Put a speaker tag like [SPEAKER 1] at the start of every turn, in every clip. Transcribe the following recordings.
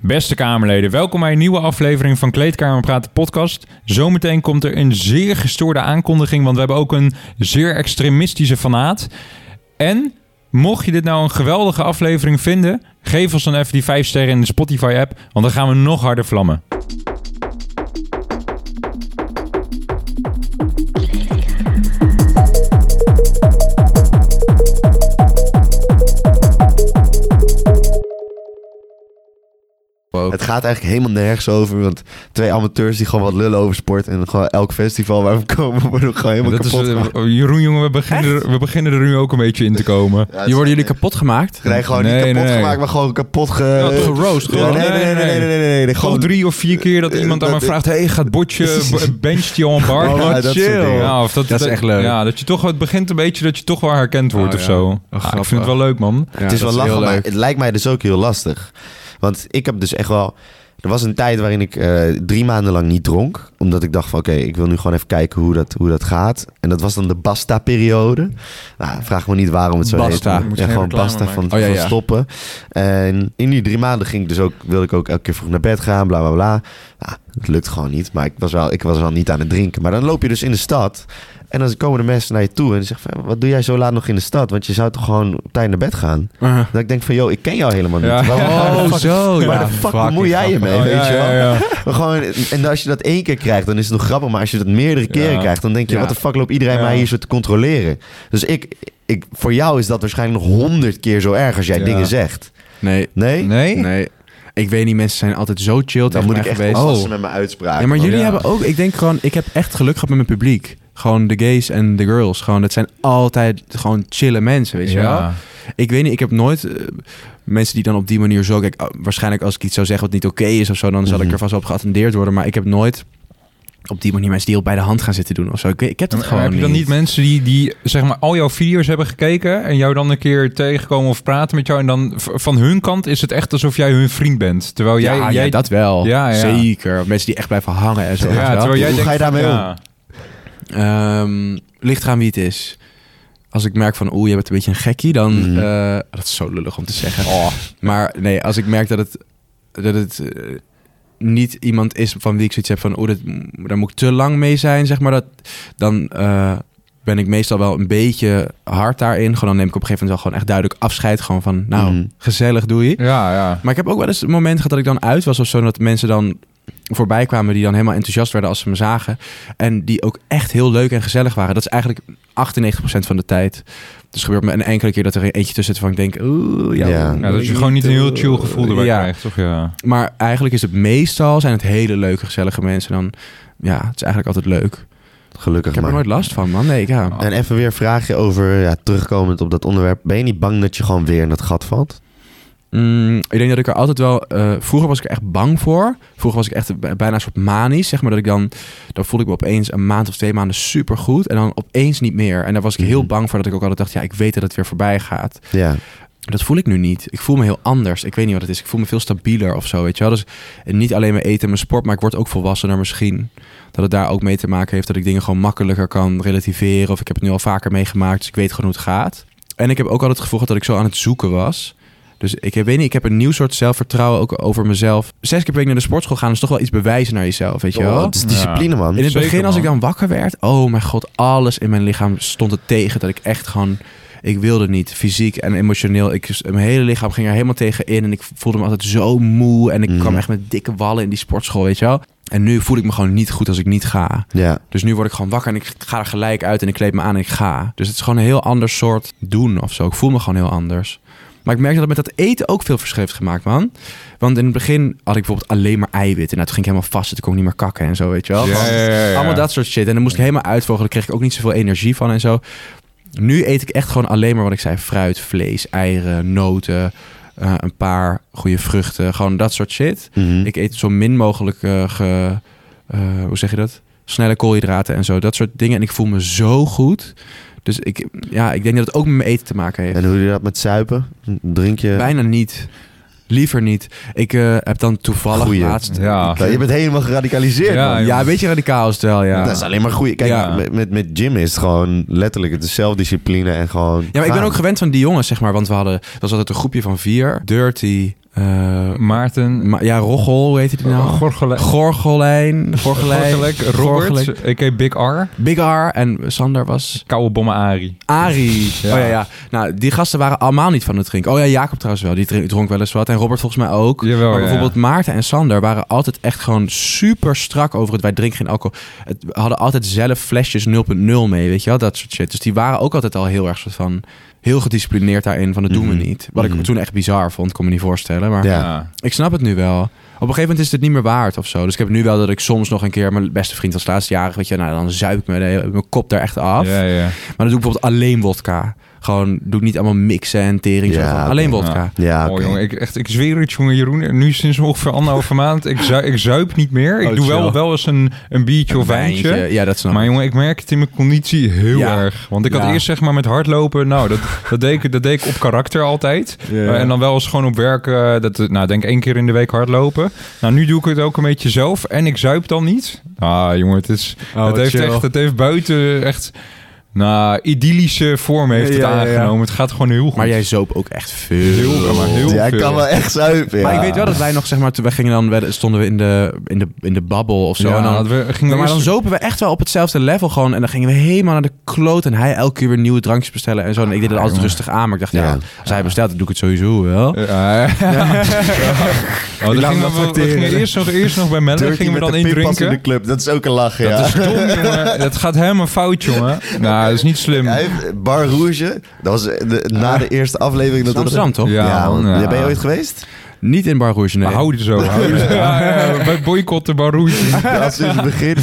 [SPEAKER 1] Beste Kamerleden, welkom bij een nieuwe aflevering van Kleedkamer Praten Podcast. Zometeen komt er een zeer gestoorde aankondiging, want we hebben ook een zeer extremistische fanaat. En mocht je dit nou een geweldige aflevering vinden, geef ons dan even die 5 sterren in de Spotify-app, want dan gaan we nog harder vlammen.
[SPEAKER 2] Het gaat eigenlijk helemaal nergens over. Want twee amateurs die gewoon wat lullen over sport. En gewoon elk festival waar we komen worden we gewoon helemaal
[SPEAKER 1] Dat is,
[SPEAKER 2] kapot. gemaakt.
[SPEAKER 1] eh, Jeroen, jongen, we beginnen, er, we beginnen er nu ook een beetje in te komen.
[SPEAKER 2] Ja, het
[SPEAKER 3] Je
[SPEAKER 2] is-
[SPEAKER 3] worden jullie kapot gemaakt?
[SPEAKER 2] We krijgen gewoon
[SPEAKER 1] Nee,
[SPEAKER 2] niet kapot
[SPEAKER 1] nee.
[SPEAKER 2] gemaakt, maar gewoon kapot ge...
[SPEAKER 1] Ja,
[SPEAKER 3] Geroost
[SPEAKER 2] nee, nee,
[SPEAKER 3] gewoon.
[SPEAKER 2] Eh, nee, nee, nee, nee, nee, nee, nee, nee,
[SPEAKER 1] Gewoon
[SPEAKER 2] Gewoon
[SPEAKER 1] drie of vier keer dat
[SPEAKER 2] eh,
[SPEAKER 1] iemand aan
[SPEAKER 2] dat
[SPEAKER 1] me vraagt... hey, gaat Botje b- bencht je al een bar?
[SPEAKER 2] Oh, ja, dat soort dingen.
[SPEAKER 1] Ja, of dat,
[SPEAKER 3] Dat is echt leuk.
[SPEAKER 1] Ja, dat je toch, het begint een beetje dat je toch wel herkend wordt
[SPEAKER 3] Oh,
[SPEAKER 1] of
[SPEAKER 3] ja.
[SPEAKER 1] zo.
[SPEAKER 3] Oh,
[SPEAKER 1] Ah, ik
[SPEAKER 3] grappig.
[SPEAKER 1] vind het wel leuk, man.
[SPEAKER 3] Ja,
[SPEAKER 2] Het is wel
[SPEAKER 3] dat
[SPEAKER 2] lachen,
[SPEAKER 3] heel
[SPEAKER 2] maar
[SPEAKER 3] leuk.
[SPEAKER 2] het lijkt mij dus ook heel lastig. Want ik heb dus echt wel... Er was een tijd waarin ik eh, drie maanden lang niet dronk. Omdat ik dacht van oké, ik wil nu gewoon even kijken hoe dat, hoe dat gaat. En dat was dan de Basta-periode. Nou, vraag me niet waarom het zo
[SPEAKER 3] Basta.
[SPEAKER 2] heet.
[SPEAKER 3] Moet
[SPEAKER 1] je
[SPEAKER 2] Ja,
[SPEAKER 1] geen
[SPEAKER 2] gewoon
[SPEAKER 1] reclame
[SPEAKER 2] Basta
[SPEAKER 1] maken.
[SPEAKER 2] van,
[SPEAKER 3] Oh, ja,
[SPEAKER 2] van
[SPEAKER 3] ja.
[SPEAKER 2] stoppen. En in die drie maanden ging ik dus ook, wilde ik ook elke keer vroeg naar bed gaan, bla bla bla. Nou, het lukt gewoon niet, maar ik was, wel, ik was wel niet aan het drinken. Maar dan loop je dus in de stad en dan komen de mensen naar je toe en die zeggen van... wat doe jij zo laat nog in de stad? Want je zou toch gewoon op tijd naar bed gaan?
[SPEAKER 3] Uh-huh.
[SPEAKER 2] Dat ik denk van, yo, ik ken jou helemaal niet.
[SPEAKER 1] Ja.
[SPEAKER 2] Waarom- waar de
[SPEAKER 3] Oh,
[SPEAKER 2] fuck-
[SPEAKER 3] zo.
[SPEAKER 2] waar
[SPEAKER 3] ja.
[SPEAKER 2] de fuck
[SPEAKER 3] Fucking
[SPEAKER 2] bemoei jij je mee,
[SPEAKER 1] Oh,
[SPEAKER 2] weet
[SPEAKER 1] ja,
[SPEAKER 2] je wel?
[SPEAKER 1] ja, ja.
[SPEAKER 2] Maar gewoon, en als je dat één keer krijgt, dan is het nog grappig. Maar als je dat meerdere keren
[SPEAKER 1] Ja.
[SPEAKER 2] krijgt, dan denk je...
[SPEAKER 3] Ja.
[SPEAKER 2] wat de fuck loopt iedereen
[SPEAKER 1] Ja.
[SPEAKER 2] mij hier zo te controleren? Dus ik, ik, voor jou is dat waarschijnlijk nog honderd keer zo erg als jij
[SPEAKER 1] Ja.
[SPEAKER 2] dingen zegt.
[SPEAKER 3] Nee,
[SPEAKER 2] Nee?
[SPEAKER 1] Nee?
[SPEAKER 3] nee. Ik weet niet, mensen zijn altijd zo chill
[SPEAKER 2] Dan
[SPEAKER 3] tegen
[SPEAKER 2] moet
[SPEAKER 3] mij
[SPEAKER 2] ik echt
[SPEAKER 3] geweest. Oh.
[SPEAKER 2] oppassen met mijn uitspraken.
[SPEAKER 3] Ja, maar
[SPEAKER 2] man.
[SPEAKER 3] jullie
[SPEAKER 1] Ja.
[SPEAKER 3] hebben ook... Ik denk gewoon... Ik heb echt geluk gehad met mijn publiek. Gewoon de gays en de girls. Gewoon, dat zijn altijd gewoon chille mensen, weet je wel?
[SPEAKER 1] Ja.
[SPEAKER 3] Ik weet niet, ik heb nooit... eh, mensen die dan op die manier zo... Kijk, ah, waarschijnlijk als ik iets zou zeggen wat niet oké is of zo... dan zal ik
[SPEAKER 2] Mhm.
[SPEAKER 3] er vast op geattendeerd worden. Maar ik heb nooit op die manier mensen die op bij de hand gaan zitten doen of zo. Ik, weet- ik heb dat
[SPEAKER 1] Maar
[SPEAKER 3] gewoon
[SPEAKER 1] heb je dan niet
[SPEAKER 3] niet.
[SPEAKER 1] mensen die, die zeg maar al jouw video's hebben gekeken en jou dan een keer tegenkomen of praten met jou en dan v- van hun kant is het echt alsof jij hun vriend bent, terwijl Oh, jij,
[SPEAKER 3] ja,
[SPEAKER 1] jij
[SPEAKER 3] ja, dat wel.
[SPEAKER 1] Ja, ja.
[SPEAKER 3] Zeker. Of Mensen die echt blijven hangen en zo.
[SPEAKER 1] ja,
[SPEAKER 3] weet je wel.
[SPEAKER 1] terwijl jij
[SPEAKER 2] Hoe
[SPEAKER 1] denkt
[SPEAKER 2] ga je
[SPEAKER 1] van,
[SPEAKER 2] daarmee
[SPEAKER 1] ja.
[SPEAKER 3] Ehm, ligt eraan wie het is. Als ik merk van, oeh, je bent een beetje een gekkie, dan...
[SPEAKER 2] Mhm.
[SPEAKER 3] eh, dat is zo lullig om te zeggen. Maar nee, als ik merk dat het, dat het eh, niet iemand is van wie ik zoiets heb van... oeh, dat, daar moet ik te lang mee zijn, zeg maar. Dat, dan eh, ben ik meestal wel een beetje hard daarin. Gewoon dan neem ik op een gegeven moment wel gewoon echt duidelijk afscheid. Gewoon van, nou,
[SPEAKER 2] Mhm.
[SPEAKER 3] gezellig, doei.
[SPEAKER 1] Ja, ja.
[SPEAKER 3] Maar ik heb ook wel eens een moment gehad dat ik dan uit was of zo. en Dat mensen dan voorbij kwamen die dan helemaal enthousiast werden als ze me zagen. En die ook echt heel leuk en gezellig waren. Dat is eigenlijk 98% van de tijd. Dus gebeurt me een enkele keer dat er eentje tussen zit van ik denk... Oeh, ja,
[SPEAKER 2] Ja.
[SPEAKER 1] Ja, dat je gewoon niet een heel chill gevoel erbij
[SPEAKER 3] Ja.
[SPEAKER 1] krijgt, toch? Ja.
[SPEAKER 3] Maar eigenlijk is het meestal zijn het hele leuke, gezellige mensen. Dan, ja, het is eigenlijk altijd leuk.
[SPEAKER 2] Gelukkig
[SPEAKER 3] Ik heb er
[SPEAKER 2] maar.
[SPEAKER 3] nooit last van, man. Nee, ik, ja.
[SPEAKER 2] En even weer een vraagje over, ja, terugkomend op dat onderwerp. Ben je niet bang dat je gewoon weer in dat gat valt?
[SPEAKER 3] Mm, ik denk dat ik er altijd wel. eh, vroeger was ik er echt bang voor. Vroeger was ik echt b- bijna een soort manisch. Zeg maar dat ik dan. Dan voelde ik me opeens een maand of twee maanden super goed. En dan opeens niet meer. En daar was ik heel
[SPEAKER 2] Mhm.
[SPEAKER 3] bang voor. Dat ik ook altijd dacht. Ja, ik weet dat het weer voorbij gaat.
[SPEAKER 2] Ja.
[SPEAKER 3] Dat voel ik nu niet. Ik voel me heel anders. Ik weet niet wat het is. Ik voel me veel stabieler of zo. Weet je wel. Dus niet alleen mijn eten en mijn sport. Maar ik word ook volwassener misschien. Dat het daar ook mee te maken heeft. Dat ik dingen gewoon makkelijker kan relativeren. Of ik heb het nu al vaker meegemaakt. Dus ik weet gewoon hoe het gaat. En ik heb ook altijd het gevoel gehad dat ik zo aan het zoeken was. Dus ik heb- weet niet, ik heb een nieuw soort zelfvertrouwen ook over mezelf. Zes keer per week naar de sportschool gaan is toch wel iets bewijzen naar jezelf, weet je
[SPEAKER 2] Oh,
[SPEAKER 3] wel?
[SPEAKER 2] het is discipline,
[SPEAKER 1] Ja.
[SPEAKER 2] man.
[SPEAKER 3] In het
[SPEAKER 1] Zeker,
[SPEAKER 3] begin, als ik
[SPEAKER 1] man.
[SPEAKER 3] dan wakker werd, oh mijn god, alles in mijn lichaam stond er tegen. Dat ik echt gewoon, ik wilde niet, fysiek en emotioneel. Ik, mijn hele lichaam ging er helemaal tegen in en ik voelde me altijd zo moe. En ik
[SPEAKER 2] Mhm.
[SPEAKER 3] kwam echt met dikke wallen in die sportschool, weet je wel? En nu voel ik me gewoon niet goed als ik niet ga.
[SPEAKER 2] Ja.
[SPEAKER 3] Dus nu word ik gewoon wakker en ik ga er gelijk uit en ik kleed me aan en ik ga. Dus het is gewoon een heel ander soort doen of zo. Ik voel me gewoon heel anders. Maar ik merk dat het met dat eten ook veel verschil heeft gemaakt, man. Want in het begin had ik bijvoorbeeld alleen maar eiwit. En nou, toen ging ik helemaal vast zitten, kon ik niet meer kakken en zo, weet je wel.
[SPEAKER 1] Ja,
[SPEAKER 3] Gewoon
[SPEAKER 1] ja, ja, ja.
[SPEAKER 3] Allemaal dat soort shit. En dan moest ik helemaal uitvogelen. Daar kreeg ik ook niet zoveel energie van en zo. Nu eet ik echt gewoon alleen maar wat ik zei. Fruit, vlees, eieren, noten, eh, een paar goede vruchten. Gewoon dat soort shit.
[SPEAKER 2] Mhm.
[SPEAKER 3] Ik eet zo min mogelijk, eh, ge- eh, hoe zeg je dat? Snelle koolhydraten en zo, dat soort dingen. En ik voel me zo goed. Dus ik, ja, ik denk dat het ook met mijn eten te maken heeft.
[SPEAKER 2] En hoe doe je dat met zuipen? Drink je...
[SPEAKER 3] Bijna niet. Liever niet. Ik eh, heb dan toevallig
[SPEAKER 2] Goeie.
[SPEAKER 3] laatst...
[SPEAKER 1] Ja.
[SPEAKER 2] Ja, je bent helemaal geradicaliseerd,
[SPEAKER 1] Ja,
[SPEAKER 2] man.
[SPEAKER 1] jongen.
[SPEAKER 3] Ja, een beetje radicaal is het wel, ja.
[SPEAKER 2] Dat is alleen maar goed. Kijk,
[SPEAKER 3] Ja.
[SPEAKER 2] met, met, met Jim is het gewoon letterlijk. Het is zelfdiscipline en gewoon.
[SPEAKER 3] Ja, maar ik ben
[SPEAKER 2] gaan.
[SPEAKER 3] ook gewend van die jongens, zeg maar. Want we hadden, dat was altijd een groepje van vier. Dirty, eh,
[SPEAKER 1] Maarten.
[SPEAKER 3] maar, ja, Roggel, hoe heet hij nou?
[SPEAKER 1] Gorgele-
[SPEAKER 3] Gorgelijn.
[SPEAKER 1] Gorgelek, Robert,
[SPEAKER 3] Gorgelek.
[SPEAKER 1] a.k.a. Big R.
[SPEAKER 3] Big R en Sander was
[SPEAKER 1] Koude bommen Ari.
[SPEAKER 3] Ari.
[SPEAKER 1] Ja.
[SPEAKER 3] Oh ja, ja. Nou, die gasten waren allemaal niet van het drinken. Oh ja, Jacob trouwens wel. Die drink- dronk wel eens wat. En Robert volgens mij ook.
[SPEAKER 1] Jawel,
[SPEAKER 3] maar
[SPEAKER 1] ja.
[SPEAKER 3] bijvoorbeeld Maarten en Sander waren altijd echt gewoon super strak over het wij drinken geen alcohol. Het, we hadden altijd zelf flesjes 0.0 mee, weet je wel, dat soort shit. Dus die waren ook altijd al heel erg soort van heel gedisciplineerd daarin van dat doen
[SPEAKER 2] Mhm.
[SPEAKER 3] we niet. Wat
[SPEAKER 2] Mhm.
[SPEAKER 3] ik toen echt bizar vond, kon me niet voorstellen. Maar
[SPEAKER 2] Ja.
[SPEAKER 3] ik snap het nu wel. Op een gegeven moment is het niet meer waard of zo. Dus ik heb nu wel dat ik soms nog een keer mijn beste vriend was laatstjarig, weet je, nou dan zuip ik me de- mijn kop daar echt af.
[SPEAKER 1] Ja, ja.
[SPEAKER 3] Maar dan doe ik bijvoorbeeld alleen wodka. Gewoon doe ik niet allemaal mixen en tering. zo
[SPEAKER 2] Ja,
[SPEAKER 3] van,
[SPEAKER 2] oké.
[SPEAKER 3] alleen wodka.
[SPEAKER 2] Ja,
[SPEAKER 1] Oh,
[SPEAKER 2] oké.
[SPEAKER 1] jongen, ik, echt, ik zweer het, jongen, Jeroen. Nu sinds ongeveer anderhalve maand, ik, zu- ik zuip niet meer. Ik
[SPEAKER 3] Oh,
[SPEAKER 1] doe wel,
[SPEAKER 3] chill.
[SPEAKER 1] wel eens een, een biertje
[SPEAKER 3] Een
[SPEAKER 1] of wijntje.
[SPEAKER 3] wijntje. Ja, dat snap ik.
[SPEAKER 1] Maar jongen, ik merk het in mijn conditie heel
[SPEAKER 3] Ja.
[SPEAKER 1] erg. Want ik had
[SPEAKER 3] Ja.
[SPEAKER 1] eerst zeg maar met hardlopen, nou, dat, dat, deed ik, dat deed ik op karakter altijd. Eh, en dan wel eens gewoon op werk, eh, dat, eh, nou, denk één keer in de week hardlopen. Nou, nu doe ik het ook een beetje zelf en ik zuip dan niet. Ah, jongen, het is,
[SPEAKER 3] Oh,
[SPEAKER 1] het, heeft
[SPEAKER 3] chill.
[SPEAKER 1] echt, het heeft buiten echt, nou, idyllische vorm heeft het
[SPEAKER 3] Ja, ja, ja.
[SPEAKER 1] aangenomen. Het gaat gewoon heel goed.
[SPEAKER 3] Maar jij zoop ook echt veel.
[SPEAKER 1] Heel veel, maar heel
[SPEAKER 2] Ja, ik
[SPEAKER 1] veel.
[SPEAKER 2] kan wel echt zuipen.
[SPEAKER 3] Maar
[SPEAKER 2] ja.
[SPEAKER 3] ik weet wel dat wij nog, zeg maar, toen wij gingen dan, wel- stonden we in de, in de, in de babbel of zo.
[SPEAKER 1] Ja,
[SPEAKER 3] en dan,
[SPEAKER 1] dat nou, we, gingen we
[SPEAKER 3] maar dan
[SPEAKER 1] eerst-
[SPEAKER 3] zopen we echt wel op hetzelfde level gewoon. En dan gingen we helemaal naar de kloot. En hij elke keer weer nieuwe drankjes bestellen en zo. En ik deed het altijd
[SPEAKER 1] jongen.
[SPEAKER 3] rustig aan. Maar ik dacht,
[SPEAKER 2] Ja.
[SPEAKER 3] ja, als hij bestelt, dan doe ik het sowieso wel.
[SPEAKER 1] Ja. Oh, dan
[SPEAKER 2] laat
[SPEAKER 1] gingen
[SPEAKER 2] me
[SPEAKER 1] we, we
[SPEAKER 2] facteren.
[SPEAKER 1] gingen eerst nog, eerst nog bij Melle,
[SPEAKER 2] Dirty
[SPEAKER 1] gingen we
[SPEAKER 2] met
[SPEAKER 1] dan
[SPEAKER 2] de pinpas
[SPEAKER 1] indrinken.
[SPEAKER 2] in de club. Dat is ook een lach, ja.
[SPEAKER 1] Dat is dom, jongen. Dat gaat helemaal fout, jongen. Nou, dat is niet slim.
[SPEAKER 2] Hij heeft Bar Rouge, dat was de- na de eerste aflevering. Dat
[SPEAKER 3] In Amsterdam, toch?
[SPEAKER 1] Ja.
[SPEAKER 2] Ja, man.
[SPEAKER 1] man, ja.
[SPEAKER 2] Ben je ooit geweest?
[SPEAKER 3] Niet in Bar Rouge, nee.
[SPEAKER 1] Maar hou het zo. Hou het zo. Ja, ja, ja, Wij boycotten Barouche.
[SPEAKER 2] Ja, sinds het begin.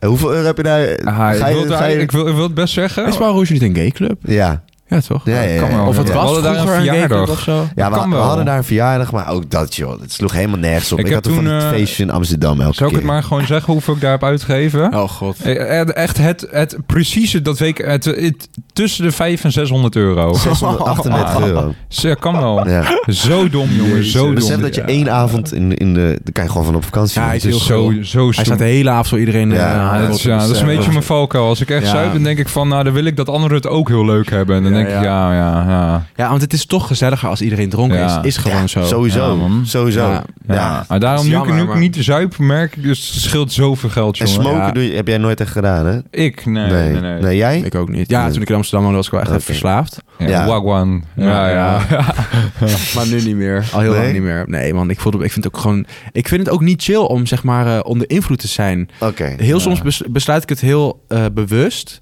[SPEAKER 2] Hoeveel euro heb je daar?
[SPEAKER 1] Ah, ik,
[SPEAKER 2] Ga je-
[SPEAKER 1] wil het,
[SPEAKER 2] ga je-
[SPEAKER 1] ik, wil, ik wil het best zeggen.
[SPEAKER 3] Is Bar Rouge niet een gayclub?
[SPEAKER 2] Ja.
[SPEAKER 3] Ja, toch?
[SPEAKER 2] Ja, ja, ja,
[SPEAKER 1] kan wel.
[SPEAKER 2] ja.
[SPEAKER 3] Of het
[SPEAKER 2] Ja.
[SPEAKER 1] We
[SPEAKER 3] was
[SPEAKER 1] hadden daar een
[SPEAKER 3] vroeger een gayclub
[SPEAKER 1] verjaardag.
[SPEAKER 3] of zo?
[SPEAKER 2] Ja,
[SPEAKER 1] Dat
[SPEAKER 2] we,
[SPEAKER 1] kan
[SPEAKER 2] we
[SPEAKER 1] wel.
[SPEAKER 2] hadden daar een verjaardag, maar ook dat, joh. Het sloeg helemaal nergens op.
[SPEAKER 1] Ik
[SPEAKER 2] Ik,
[SPEAKER 1] heb
[SPEAKER 2] had toen van
[SPEAKER 1] toen,
[SPEAKER 2] die
[SPEAKER 1] eh,
[SPEAKER 2] feestje in Amsterdam elke
[SPEAKER 1] Zou ik
[SPEAKER 2] keer.
[SPEAKER 1] het maar gewoon zeggen hoeveel ik daarop uitgeven?
[SPEAKER 3] Oh god.
[SPEAKER 1] Eh, eh, Echt het, het precieze, dat weet ik, het, het- tussen de 5 en 600 euro.
[SPEAKER 2] 638 euro.
[SPEAKER 1] Ze kan wel.
[SPEAKER 2] Ja. Dus, eh,
[SPEAKER 1] Zo dom, jongen.
[SPEAKER 3] Jezus.
[SPEAKER 1] Zo
[SPEAKER 2] Besef
[SPEAKER 1] dom.
[SPEAKER 2] dat je
[SPEAKER 3] ja.
[SPEAKER 2] één avond in, in de... Dan kan je gewoon van op vakantie. Dus- man.
[SPEAKER 3] Ja, hij is
[SPEAKER 1] Het is
[SPEAKER 3] heel
[SPEAKER 1] zo,
[SPEAKER 3] gul.
[SPEAKER 1] zo
[SPEAKER 3] Hij staat de
[SPEAKER 1] stom.
[SPEAKER 3] hele avond voor iedereen.
[SPEAKER 2] Ja,
[SPEAKER 3] eh,
[SPEAKER 1] Ja, dat is, ja, dat is een beetje mijn valkuil. Als ik echt
[SPEAKER 3] Ja.
[SPEAKER 1] zuip, dan denk ik van, nou, dan wil ik dat anderen het ook heel leuk hebben. En dan
[SPEAKER 3] Ja,
[SPEAKER 1] denk ik, ja, ja, ja.
[SPEAKER 3] Ja, want het is toch gezelliger als iedereen dronken
[SPEAKER 1] Ja.
[SPEAKER 3] is. Is gewoon zo.
[SPEAKER 2] Sowieso.
[SPEAKER 1] Ja, man.
[SPEAKER 2] Sowieso.
[SPEAKER 3] Ja.
[SPEAKER 2] Ja.
[SPEAKER 1] ja. Maar daarom,
[SPEAKER 3] Dat is
[SPEAKER 1] nu ik- nu
[SPEAKER 3] jammer,
[SPEAKER 1] ik
[SPEAKER 3] maar-
[SPEAKER 1] niet zuip, merk ik, dus het scheelt zoveel geld,
[SPEAKER 2] En
[SPEAKER 1] jongen.
[SPEAKER 2] smoken
[SPEAKER 3] Ja.
[SPEAKER 2] doe je, heb jij nooit echt gedaan, hè?
[SPEAKER 1] Ik? Nee, nee, nee.
[SPEAKER 2] jij?
[SPEAKER 3] Ik ook niet. Ja,
[SPEAKER 2] Nee.
[SPEAKER 3] toen ik in Amsterdam woonde was ik wel echt
[SPEAKER 2] Oké.
[SPEAKER 3] even verslaafd.
[SPEAKER 1] Ja,
[SPEAKER 2] Ja.
[SPEAKER 1] Wagwan. Ja,
[SPEAKER 3] Ja,
[SPEAKER 1] ja.
[SPEAKER 3] Maar nu niet meer. Al heel
[SPEAKER 2] Nee?
[SPEAKER 3] lang niet meer. Nee man, ik, voelde, ik, vind het ook gewoon, ik vind het ook niet chill om zeg maar eh, onder invloed te zijn.
[SPEAKER 2] Oké.
[SPEAKER 3] Heel
[SPEAKER 1] Ja.
[SPEAKER 3] soms bes- besluit ik het heel eh, bewust.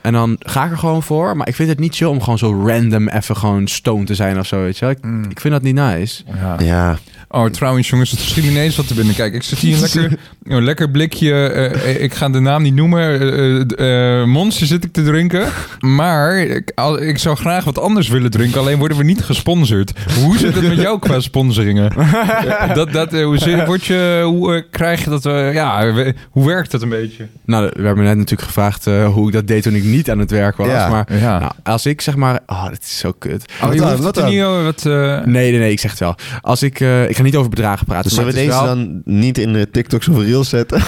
[SPEAKER 3] En dan ga ik er gewoon voor. Maar ik vind het niet chill om gewoon zo random even gewoon stoned te zijn of zo. Weet je? wel. Ik,
[SPEAKER 1] Mm.
[SPEAKER 3] ik vind dat niet nice.
[SPEAKER 1] Ja.
[SPEAKER 2] Ja.
[SPEAKER 1] Oh, trouwens jongens, het schiet me ineens wat te binnen. Kijk, ik zit hier een lekker, een lekker blikje, eh, ik ga de naam niet noemen, eh, eh, eh, Monster zit ik te drinken. Maar ik, al- ik zou graag wat anders willen drinken, alleen worden we niet gesponsord. Hoe zit het met jou qua sponsoringen? Eh, dat, dat, eh, hoe, zit, word je, hoe eh, krijg je dat? eh, ja, we- hoe werkt dat een beetje?
[SPEAKER 3] Nou, we hebben net natuurlijk gevraagd eh, hoe ik dat deed toen ik niet aan het werk was.
[SPEAKER 2] Ja.
[SPEAKER 3] Maar
[SPEAKER 1] Ja.
[SPEAKER 3] nou, als ik zeg maar... Oh, dat is zo kut.
[SPEAKER 1] Oh, je
[SPEAKER 2] Wat dan?
[SPEAKER 1] hoeft
[SPEAKER 2] Wat
[SPEAKER 1] het er
[SPEAKER 2] dan?
[SPEAKER 1] niet over wat... eh,
[SPEAKER 3] Nee, nee, nee, ik zeg het wel. Als ik, eh, ik ga niet over bedragen praten.
[SPEAKER 2] Dus zullen we
[SPEAKER 3] maar het
[SPEAKER 2] deze
[SPEAKER 3] is wel-
[SPEAKER 2] dan niet in de TikToks of Reels zetten?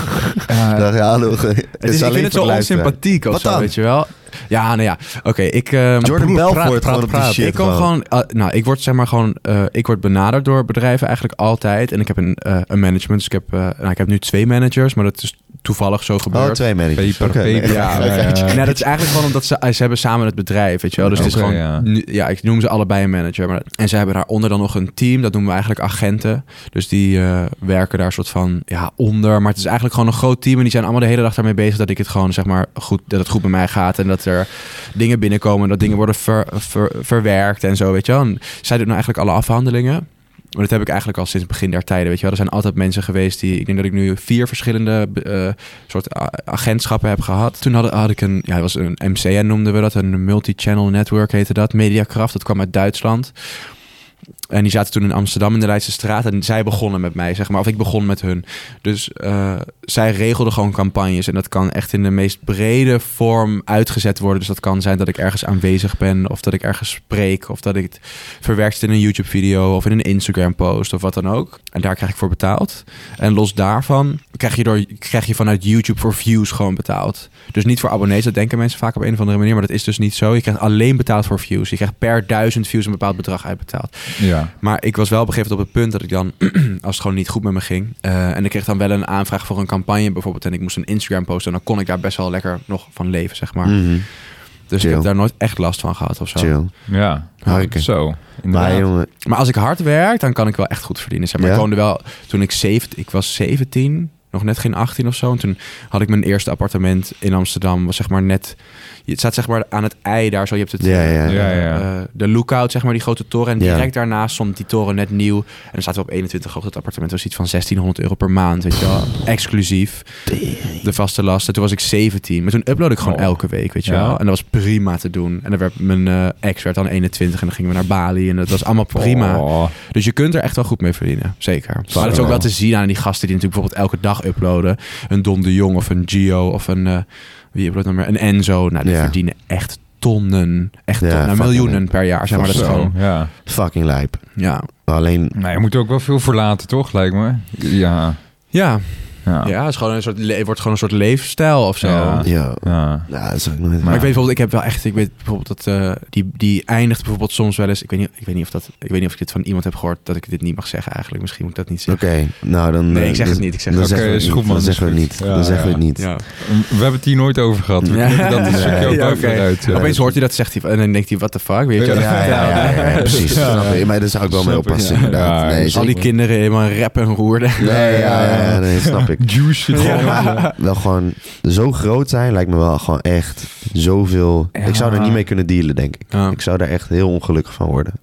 [SPEAKER 1] ja,
[SPEAKER 2] Dan, ja, hallo. Het
[SPEAKER 3] Het is, ik vind het zo onsympathiek of
[SPEAKER 2] Wat
[SPEAKER 3] zo,
[SPEAKER 2] dan?
[SPEAKER 3] weet je wel. Ja, nou ja. Oké, ik... ehm,
[SPEAKER 2] Jordan
[SPEAKER 3] broer, praat,
[SPEAKER 2] Belfort
[SPEAKER 3] praat,
[SPEAKER 2] gewoon op die
[SPEAKER 3] praat.
[SPEAKER 2] shit.
[SPEAKER 3] Ik kan gewoon... eh, nou, ik word zeg maar gewoon... eh, ik word benaderd door bedrijven eigenlijk altijd. En ik heb een, eh, een management. Dus ik heb, eh, nou, ik heb nu twee managers. Maar dat is toevallig zo
[SPEAKER 2] Oh,
[SPEAKER 3] gebeurd.
[SPEAKER 2] twee managers.
[SPEAKER 1] Paper,
[SPEAKER 2] Oké, nee.
[SPEAKER 1] paper.
[SPEAKER 3] Ja,
[SPEAKER 1] Ja, ja, ja.
[SPEAKER 3] Nee, dat is eigenlijk gewoon omdat ze, ze hebben samen het bedrijf, weet je wel. Dus het is
[SPEAKER 1] Oké,
[SPEAKER 3] gewoon...
[SPEAKER 1] ja.
[SPEAKER 3] nu- Ja, ik noem ze allebei een manager. Maar, en ze hebben daaronder dan nog een team. Dat noemen we eigenlijk agenten. Dus die eh, werken daar soort van ja, onder. Maar het is eigenlijk gewoon een groot team. En die zijn allemaal de hele dag daarmee bezig dat ik het gewoon, zeg maar, goed, dat het goed bij mij gaat. En dat er dingen binnenkomen. en Dat dingen worden ver- ver- verwerkt en zo, weet je wel. En zij doen nou eigenlijk alle afhandelingen. Maar dat heb ik eigenlijk al sinds het begin der tijden. Weet je wel. Er zijn altijd mensen geweest die. Ik denk dat ik nu vier verschillende eh, soort a- agentschappen heb gehad. Toen had, had ik een. Ja, het was een MCN noemden we dat. Een multi-channel network heette dat. Mediakracht. Dat kwam uit Duitsland. En die zaten toen in Amsterdam in de Leidse straat. En zij begonnen met mij, zeg maar. Of ik begon met hun. Dus eh, zij regelden gewoon campagnes. En dat kan echt in de meest brede vorm uitgezet worden. Dus dat kan zijn dat ik ergens aanwezig ben. Of dat ik ergens spreek. Of dat ik het verwerkt in een YouTube-video. Of in een Instagram-post. Of wat dan ook. En daar krijg ik voor betaald. En los daarvan krijg je, door, krijg je vanuit YouTube voor views gewoon betaald. Dus niet voor abonnees. Dat denken mensen vaak op een of andere manier. Maar dat is dus niet zo. Je krijgt alleen betaald voor views. Je krijgt per duizend views een bepaald bedrag uitbetaald.
[SPEAKER 1] Ja.
[SPEAKER 3] Maar ik was wel op een gegeven moment op het punt dat ik dan, als het gewoon niet goed met me ging, eh, en ik kreeg dan wel een aanvraag voor een campagne bijvoorbeeld, en ik moest een Instagram posten, en dan kon ik daar best wel lekker nog van leven, zeg maar.
[SPEAKER 2] Mhm,
[SPEAKER 3] dus ik
[SPEAKER 2] chill.
[SPEAKER 3] heb daar nooit echt last van gehad of zo.
[SPEAKER 2] Chill.
[SPEAKER 1] Ja.
[SPEAKER 2] Harken.
[SPEAKER 1] Zo. inderdaad.
[SPEAKER 2] Maar eh, jongen,
[SPEAKER 3] Maar als ik hard werk, dan kan ik wel echt goed verdienen. Zeg maar.
[SPEAKER 2] Ja?
[SPEAKER 3] Ik woonde wel, toen ik 17, ik was 17, nog net geen 18 of zo. En toen had ik mijn eerste appartement in Amsterdam. Was zeg maar net, het staat zeg maar aan het ei daar zo. Je hebt het,
[SPEAKER 2] Ja,
[SPEAKER 3] eh,
[SPEAKER 2] ja.
[SPEAKER 1] Ja, ja.
[SPEAKER 3] eh, de lookout, zeg maar, die grote toren. En
[SPEAKER 2] Ja.
[SPEAKER 3] direct daarnaast stond die toren net nieuw. En dan zaten we op 21 hoog. Dat appartement was iets van 1600 euro per maand, weet je wel. Exclusief. De vaste lasten. Toen was ik 17. Maar toen upload ik gewoon
[SPEAKER 1] Oh.
[SPEAKER 3] elke week, weet je
[SPEAKER 1] Ja.
[SPEAKER 3] wel. En dat was prima te doen. En dan werd mijn eh, ex werd dan 21 en dan gingen we naar Bali. En dat was allemaal prima.
[SPEAKER 1] Oh.
[SPEAKER 3] Dus je kunt er echt wel goed mee verdienen, zeker. maar dat is ook
[SPEAKER 2] wel.
[SPEAKER 3] wel te zien aan die gasten die natuurlijk bijvoorbeeld elke dag uploaden. Een Dom de Jong of een Gio of een, eh, wie uploadt nog meer? Een Enzo. Nou, die
[SPEAKER 2] Ja.
[SPEAKER 3] verdienen echt tonnen. Echt
[SPEAKER 2] Ja,
[SPEAKER 3] tonnen, nou,
[SPEAKER 2] fucking
[SPEAKER 3] miljoenen per jaar, zeg maar. Dat is
[SPEAKER 1] Zo,
[SPEAKER 3] gewoon,
[SPEAKER 1] Ja.
[SPEAKER 2] fucking lijp.
[SPEAKER 3] ja.
[SPEAKER 2] Alleen,
[SPEAKER 1] Nou, je moet er ook wel veel verlaten, toch? Lijkt me. Ja.
[SPEAKER 3] Ja,
[SPEAKER 1] Ja.
[SPEAKER 3] ja het, is gewoon een soort, le- het wordt gewoon een soort leefstijl of zo.
[SPEAKER 1] Ja.
[SPEAKER 2] ja.
[SPEAKER 1] Ja.
[SPEAKER 2] Nou, dat zou ik nooit...
[SPEAKER 3] Maar ik weet bijvoorbeeld, ik heb wel echt, ik weet bijvoorbeeld dat eh, die, die eindigt bijvoorbeeld soms wel eens. Ik weet, niet, ik weet niet of dat, ik weet niet of ik dit van iemand heb gehoord dat ik dit niet mag zeggen eigenlijk. Misschien moet ik dat niet
[SPEAKER 2] Oké,
[SPEAKER 3] zeggen.
[SPEAKER 2] nou dan...
[SPEAKER 3] Nee,
[SPEAKER 2] eh,
[SPEAKER 3] ik zeg
[SPEAKER 2] dan-
[SPEAKER 3] het niet. Ik zeg
[SPEAKER 2] Dan
[SPEAKER 3] het eh,
[SPEAKER 2] zeggen we
[SPEAKER 1] Oké, is
[SPEAKER 2] het
[SPEAKER 1] goed,
[SPEAKER 2] niet.
[SPEAKER 1] man,
[SPEAKER 2] Dan
[SPEAKER 1] is
[SPEAKER 2] zeggen we het
[SPEAKER 1] goed.
[SPEAKER 2] niet.
[SPEAKER 1] Ja,
[SPEAKER 2] Dan zeggen we het
[SPEAKER 1] ja.
[SPEAKER 2] niet.
[SPEAKER 3] Ja.
[SPEAKER 1] We hebben het hier nooit over gehad. We
[SPEAKER 3] Ja.
[SPEAKER 1] knippen dat is
[SPEAKER 2] Nee,
[SPEAKER 1] ook
[SPEAKER 3] ja,
[SPEAKER 1] even eh.
[SPEAKER 3] oké.
[SPEAKER 1] uit.
[SPEAKER 2] Ja.
[SPEAKER 3] Opeens hoort hij dat, zegt hij van, en dan denkt hij, what the fuck, weet je
[SPEAKER 2] Ja,
[SPEAKER 3] wel?
[SPEAKER 2] ja, ja, ja, ja, ja, precies.
[SPEAKER 1] Ja.
[SPEAKER 2] Snap je? Maar daar zou ik wel mee
[SPEAKER 1] Snap ik,
[SPEAKER 2] oppassen,
[SPEAKER 1] ja.
[SPEAKER 2] inderdaad.
[SPEAKER 1] Ja,
[SPEAKER 2] nee,
[SPEAKER 1] dus
[SPEAKER 3] Al die
[SPEAKER 2] zeker.
[SPEAKER 3] kinderen helemaal rappen en roerden.
[SPEAKER 2] Nee, ja, ja, ja, nee, snap ik.
[SPEAKER 1] Juice zit
[SPEAKER 2] Gewoon,
[SPEAKER 1] gewoon.
[SPEAKER 2] eh, wel gewoon zo groot zijn lijkt me wel gewoon echt zoveel.
[SPEAKER 1] Ja.
[SPEAKER 2] Ik zou er niet mee kunnen dealen, denk ik.
[SPEAKER 3] Ja.
[SPEAKER 2] Ik zou daar echt heel ongelukkig van worden.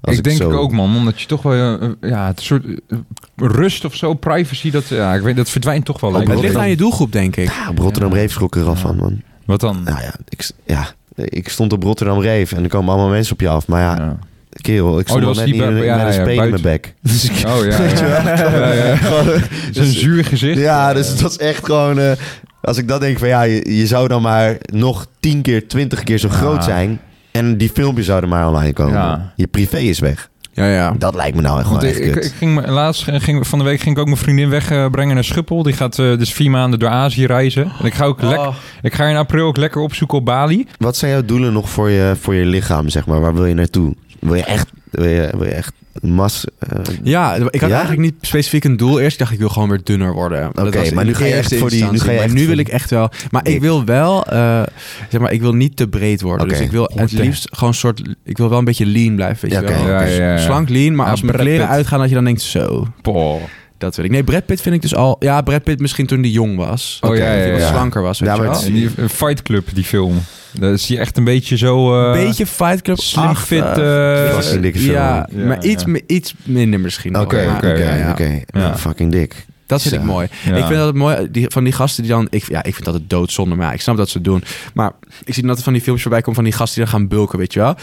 [SPEAKER 2] Als
[SPEAKER 1] ik denk
[SPEAKER 2] zo-
[SPEAKER 1] ik ook, man. Omdat je toch wel... eh, eh, ja, het soort eh, rust of zo, privacy. Dat, ja, ik weet, dat verdwijnt toch wel.
[SPEAKER 2] Op
[SPEAKER 1] lijkt me.
[SPEAKER 3] Oh, Het ligt aan je doelgroep, denk ik.
[SPEAKER 2] Ja, Ah, op Rotterdam
[SPEAKER 1] Ja.
[SPEAKER 2] Reef schrok ik er al
[SPEAKER 1] Ja.
[SPEAKER 2] van, man.
[SPEAKER 1] Wat dan?
[SPEAKER 2] Nou ja ik, ja, ik stond op Rotterdam Reef en er komen allemaal mensen op je af. Maar ja,
[SPEAKER 1] Ja. Oh,
[SPEAKER 2] kerel, ik stond
[SPEAKER 1] dat
[SPEAKER 2] al
[SPEAKER 1] was
[SPEAKER 2] net
[SPEAKER 1] die
[SPEAKER 2] niet
[SPEAKER 1] bu-
[SPEAKER 2] met
[SPEAKER 1] ja,
[SPEAKER 2] met een
[SPEAKER 1] ja,
[SPEAKER 2] speen in mijn
[SPEAKER 1] buiten.
[SPEAKER 2] bek. Dus ik...
[SPEAKER 1] Oh ja.
[SPEAKER 2] Weet je
[SPEAKER 1] ja.
[SPEAKER 2] wel?
[SPEAKER 1] Ja, ja. Dus-
[SPEAKER 2] Gewoon-
[SPEAKER 1] Zo'n zuur gezicht.
[SPEAKER 2] Ja, dus het was echt gewoon... eh, als ik dat denk van ja, je, je zou dan maar nog 10 keer, 20 keer zo
[SPEAKER 1] Ja.
[SPEAKER 2] groot zijn. En die filmpjes zouden maar online komen.
[SPEAKER 1] Ja.
[SPEAKER 2] Je privé is weg.
[SPEAKER 3] Ja, ja.
[SPEAKER 2] Dat lijkt me nou echt
[SPEAKER 1] Want
[SPEAKER 2] gewoon
[SPEAKER 1] ik,
[SPEAKER 2] echt
[SPEAKER 1] ik,
[SPEAKER 2] kut.
[SPEAKER 1] ik ging me- laatst eh, ging, van de week ging ik ook mijn vriendin wegbrengen naar Schiphol. Die gaat eh, dus vier maanden door Azië reizen. En ik ga, ook lekker,
[SPEAKER 3] Oh.
[SPEAKER 1] ik ga haar in april ook lekker opzoeken op Bali.
[SPEAKER 2] Wat zijn jouw doelen nog voor je, voor je lichaam, zeg maar? Waar wil je naartoe? Wil je echt, wil je, wil je echt mas... eh,
[SPEAKER 3] Ja, ik had
[SPEAKER 2] Ja?
[SPEAKER 3] eigenlijk niet specifiek een doel. Eerst dacht ik, ik wil gewoon weer dunner worden. Oké,
[SPEAKER 2] Oké, maar nu ga je echt voor die- nu ga je
[SPEAKER 3] maar
[SPEAKER 2] echt
[SPEAKER 3] nu
[SPEAKER 2] voor
[SPEAKER 3] wil
[SPEAKER 2] die-
[SPEAKER 3] ik echt wel... Maar
[SPEAKER 2] Dik.
[SPEAKER 3] ik wil wel... eh, zeg maar, ik wil niet te breed worden.
[SPEAKER 2] Oké.
[SPEAKER 3] Dus ik wil het
[SPEAKER 1] Oké.
[SPEAKER 3] liefst gewoon een soort... Ik wil wel een beetje lean blijven,
[SPEAKER 2] Ja,
[SPEAKER 3] weet je
[SPEAKER 2] oké.
[SPEAKER 3] wel.
[SPEAKER 2] Ja,
[SPEAKER 3] Dus
[SPEAKER 1] ja, ja.
[SPEAKER 3] Slank lean, maar
[SPEAKER 1] Ja,
[SPEAKER 3] als mijn
[SPEAKER 1] Brad
[SPEAKER 3] kleren
[SPEAKER 1] Pitt.
[SPEAKER 3] uitgaan... dat je dan denkt, zo,
[SPEAKER 1] Poh. Oh
[SPEAKER 3] dat wil ik. Nee, Brad Pitt vind ik dus al... Ja, Brad Pitt misschien toen hij jong was.
[SPEAKER 1] ja, ja,
[SPEAKER 3] Toen
[SPEAKER 1] ja.
[SPEAKER 3] hij wat slanker was, weet
[SPEAKER 2] Oh, Ja,
[SPEAKER 3] je
[SPEAKER 2] maar
[SPEAKER 3] wel.
[SPEAKER 2] het
[SPEAKER 1] En die eh, Fight Club, die film. Daar is hij echt een beetje zo... eh,
[SPEAKER 3] beetje Fight Club
[SPEAKER 1] slim
[SPEAKER 3] achter.
[SPEAKER 1] fit. eh,
[SPEAKER 2] Fucking dikke film.
[SPEAKER 3] ja,
[SPEAKER 1] Ja,
[SPEAKER 3] maar iets,
[SPEAKER 1] ja.
[SPEAKER 3] mi- iets minder misschien.
[SPEAKER 2] Oké,
[SPEAKER 3] wel.
[SPEAKER 2] oké,
[SPEAKER 3] Ja,
[SPEAKER 2] oké.
[SPEAKER 3] ja, ja.
[SPEAKER 2] oké.
[SPEAKER 1] Ja.
[SPEAKER 2] Nou, Fucking dik.
[SPEAKER 3] Dat vind ik
[SPEAKER 2] Ja.
[SPEAKER 3] mooi.
[SPEAKER 1] ja.
[SPEAKER 3] Ik vind dat het mooi die, van die gasten die dan. Ik, ja, ik vind dat het doodzonde, maar ja, ik snap dat ze het doen. Maar ik zie dat er van die filmpjes voorbij komen van die gasten die dan gaan bulken, weet je wel.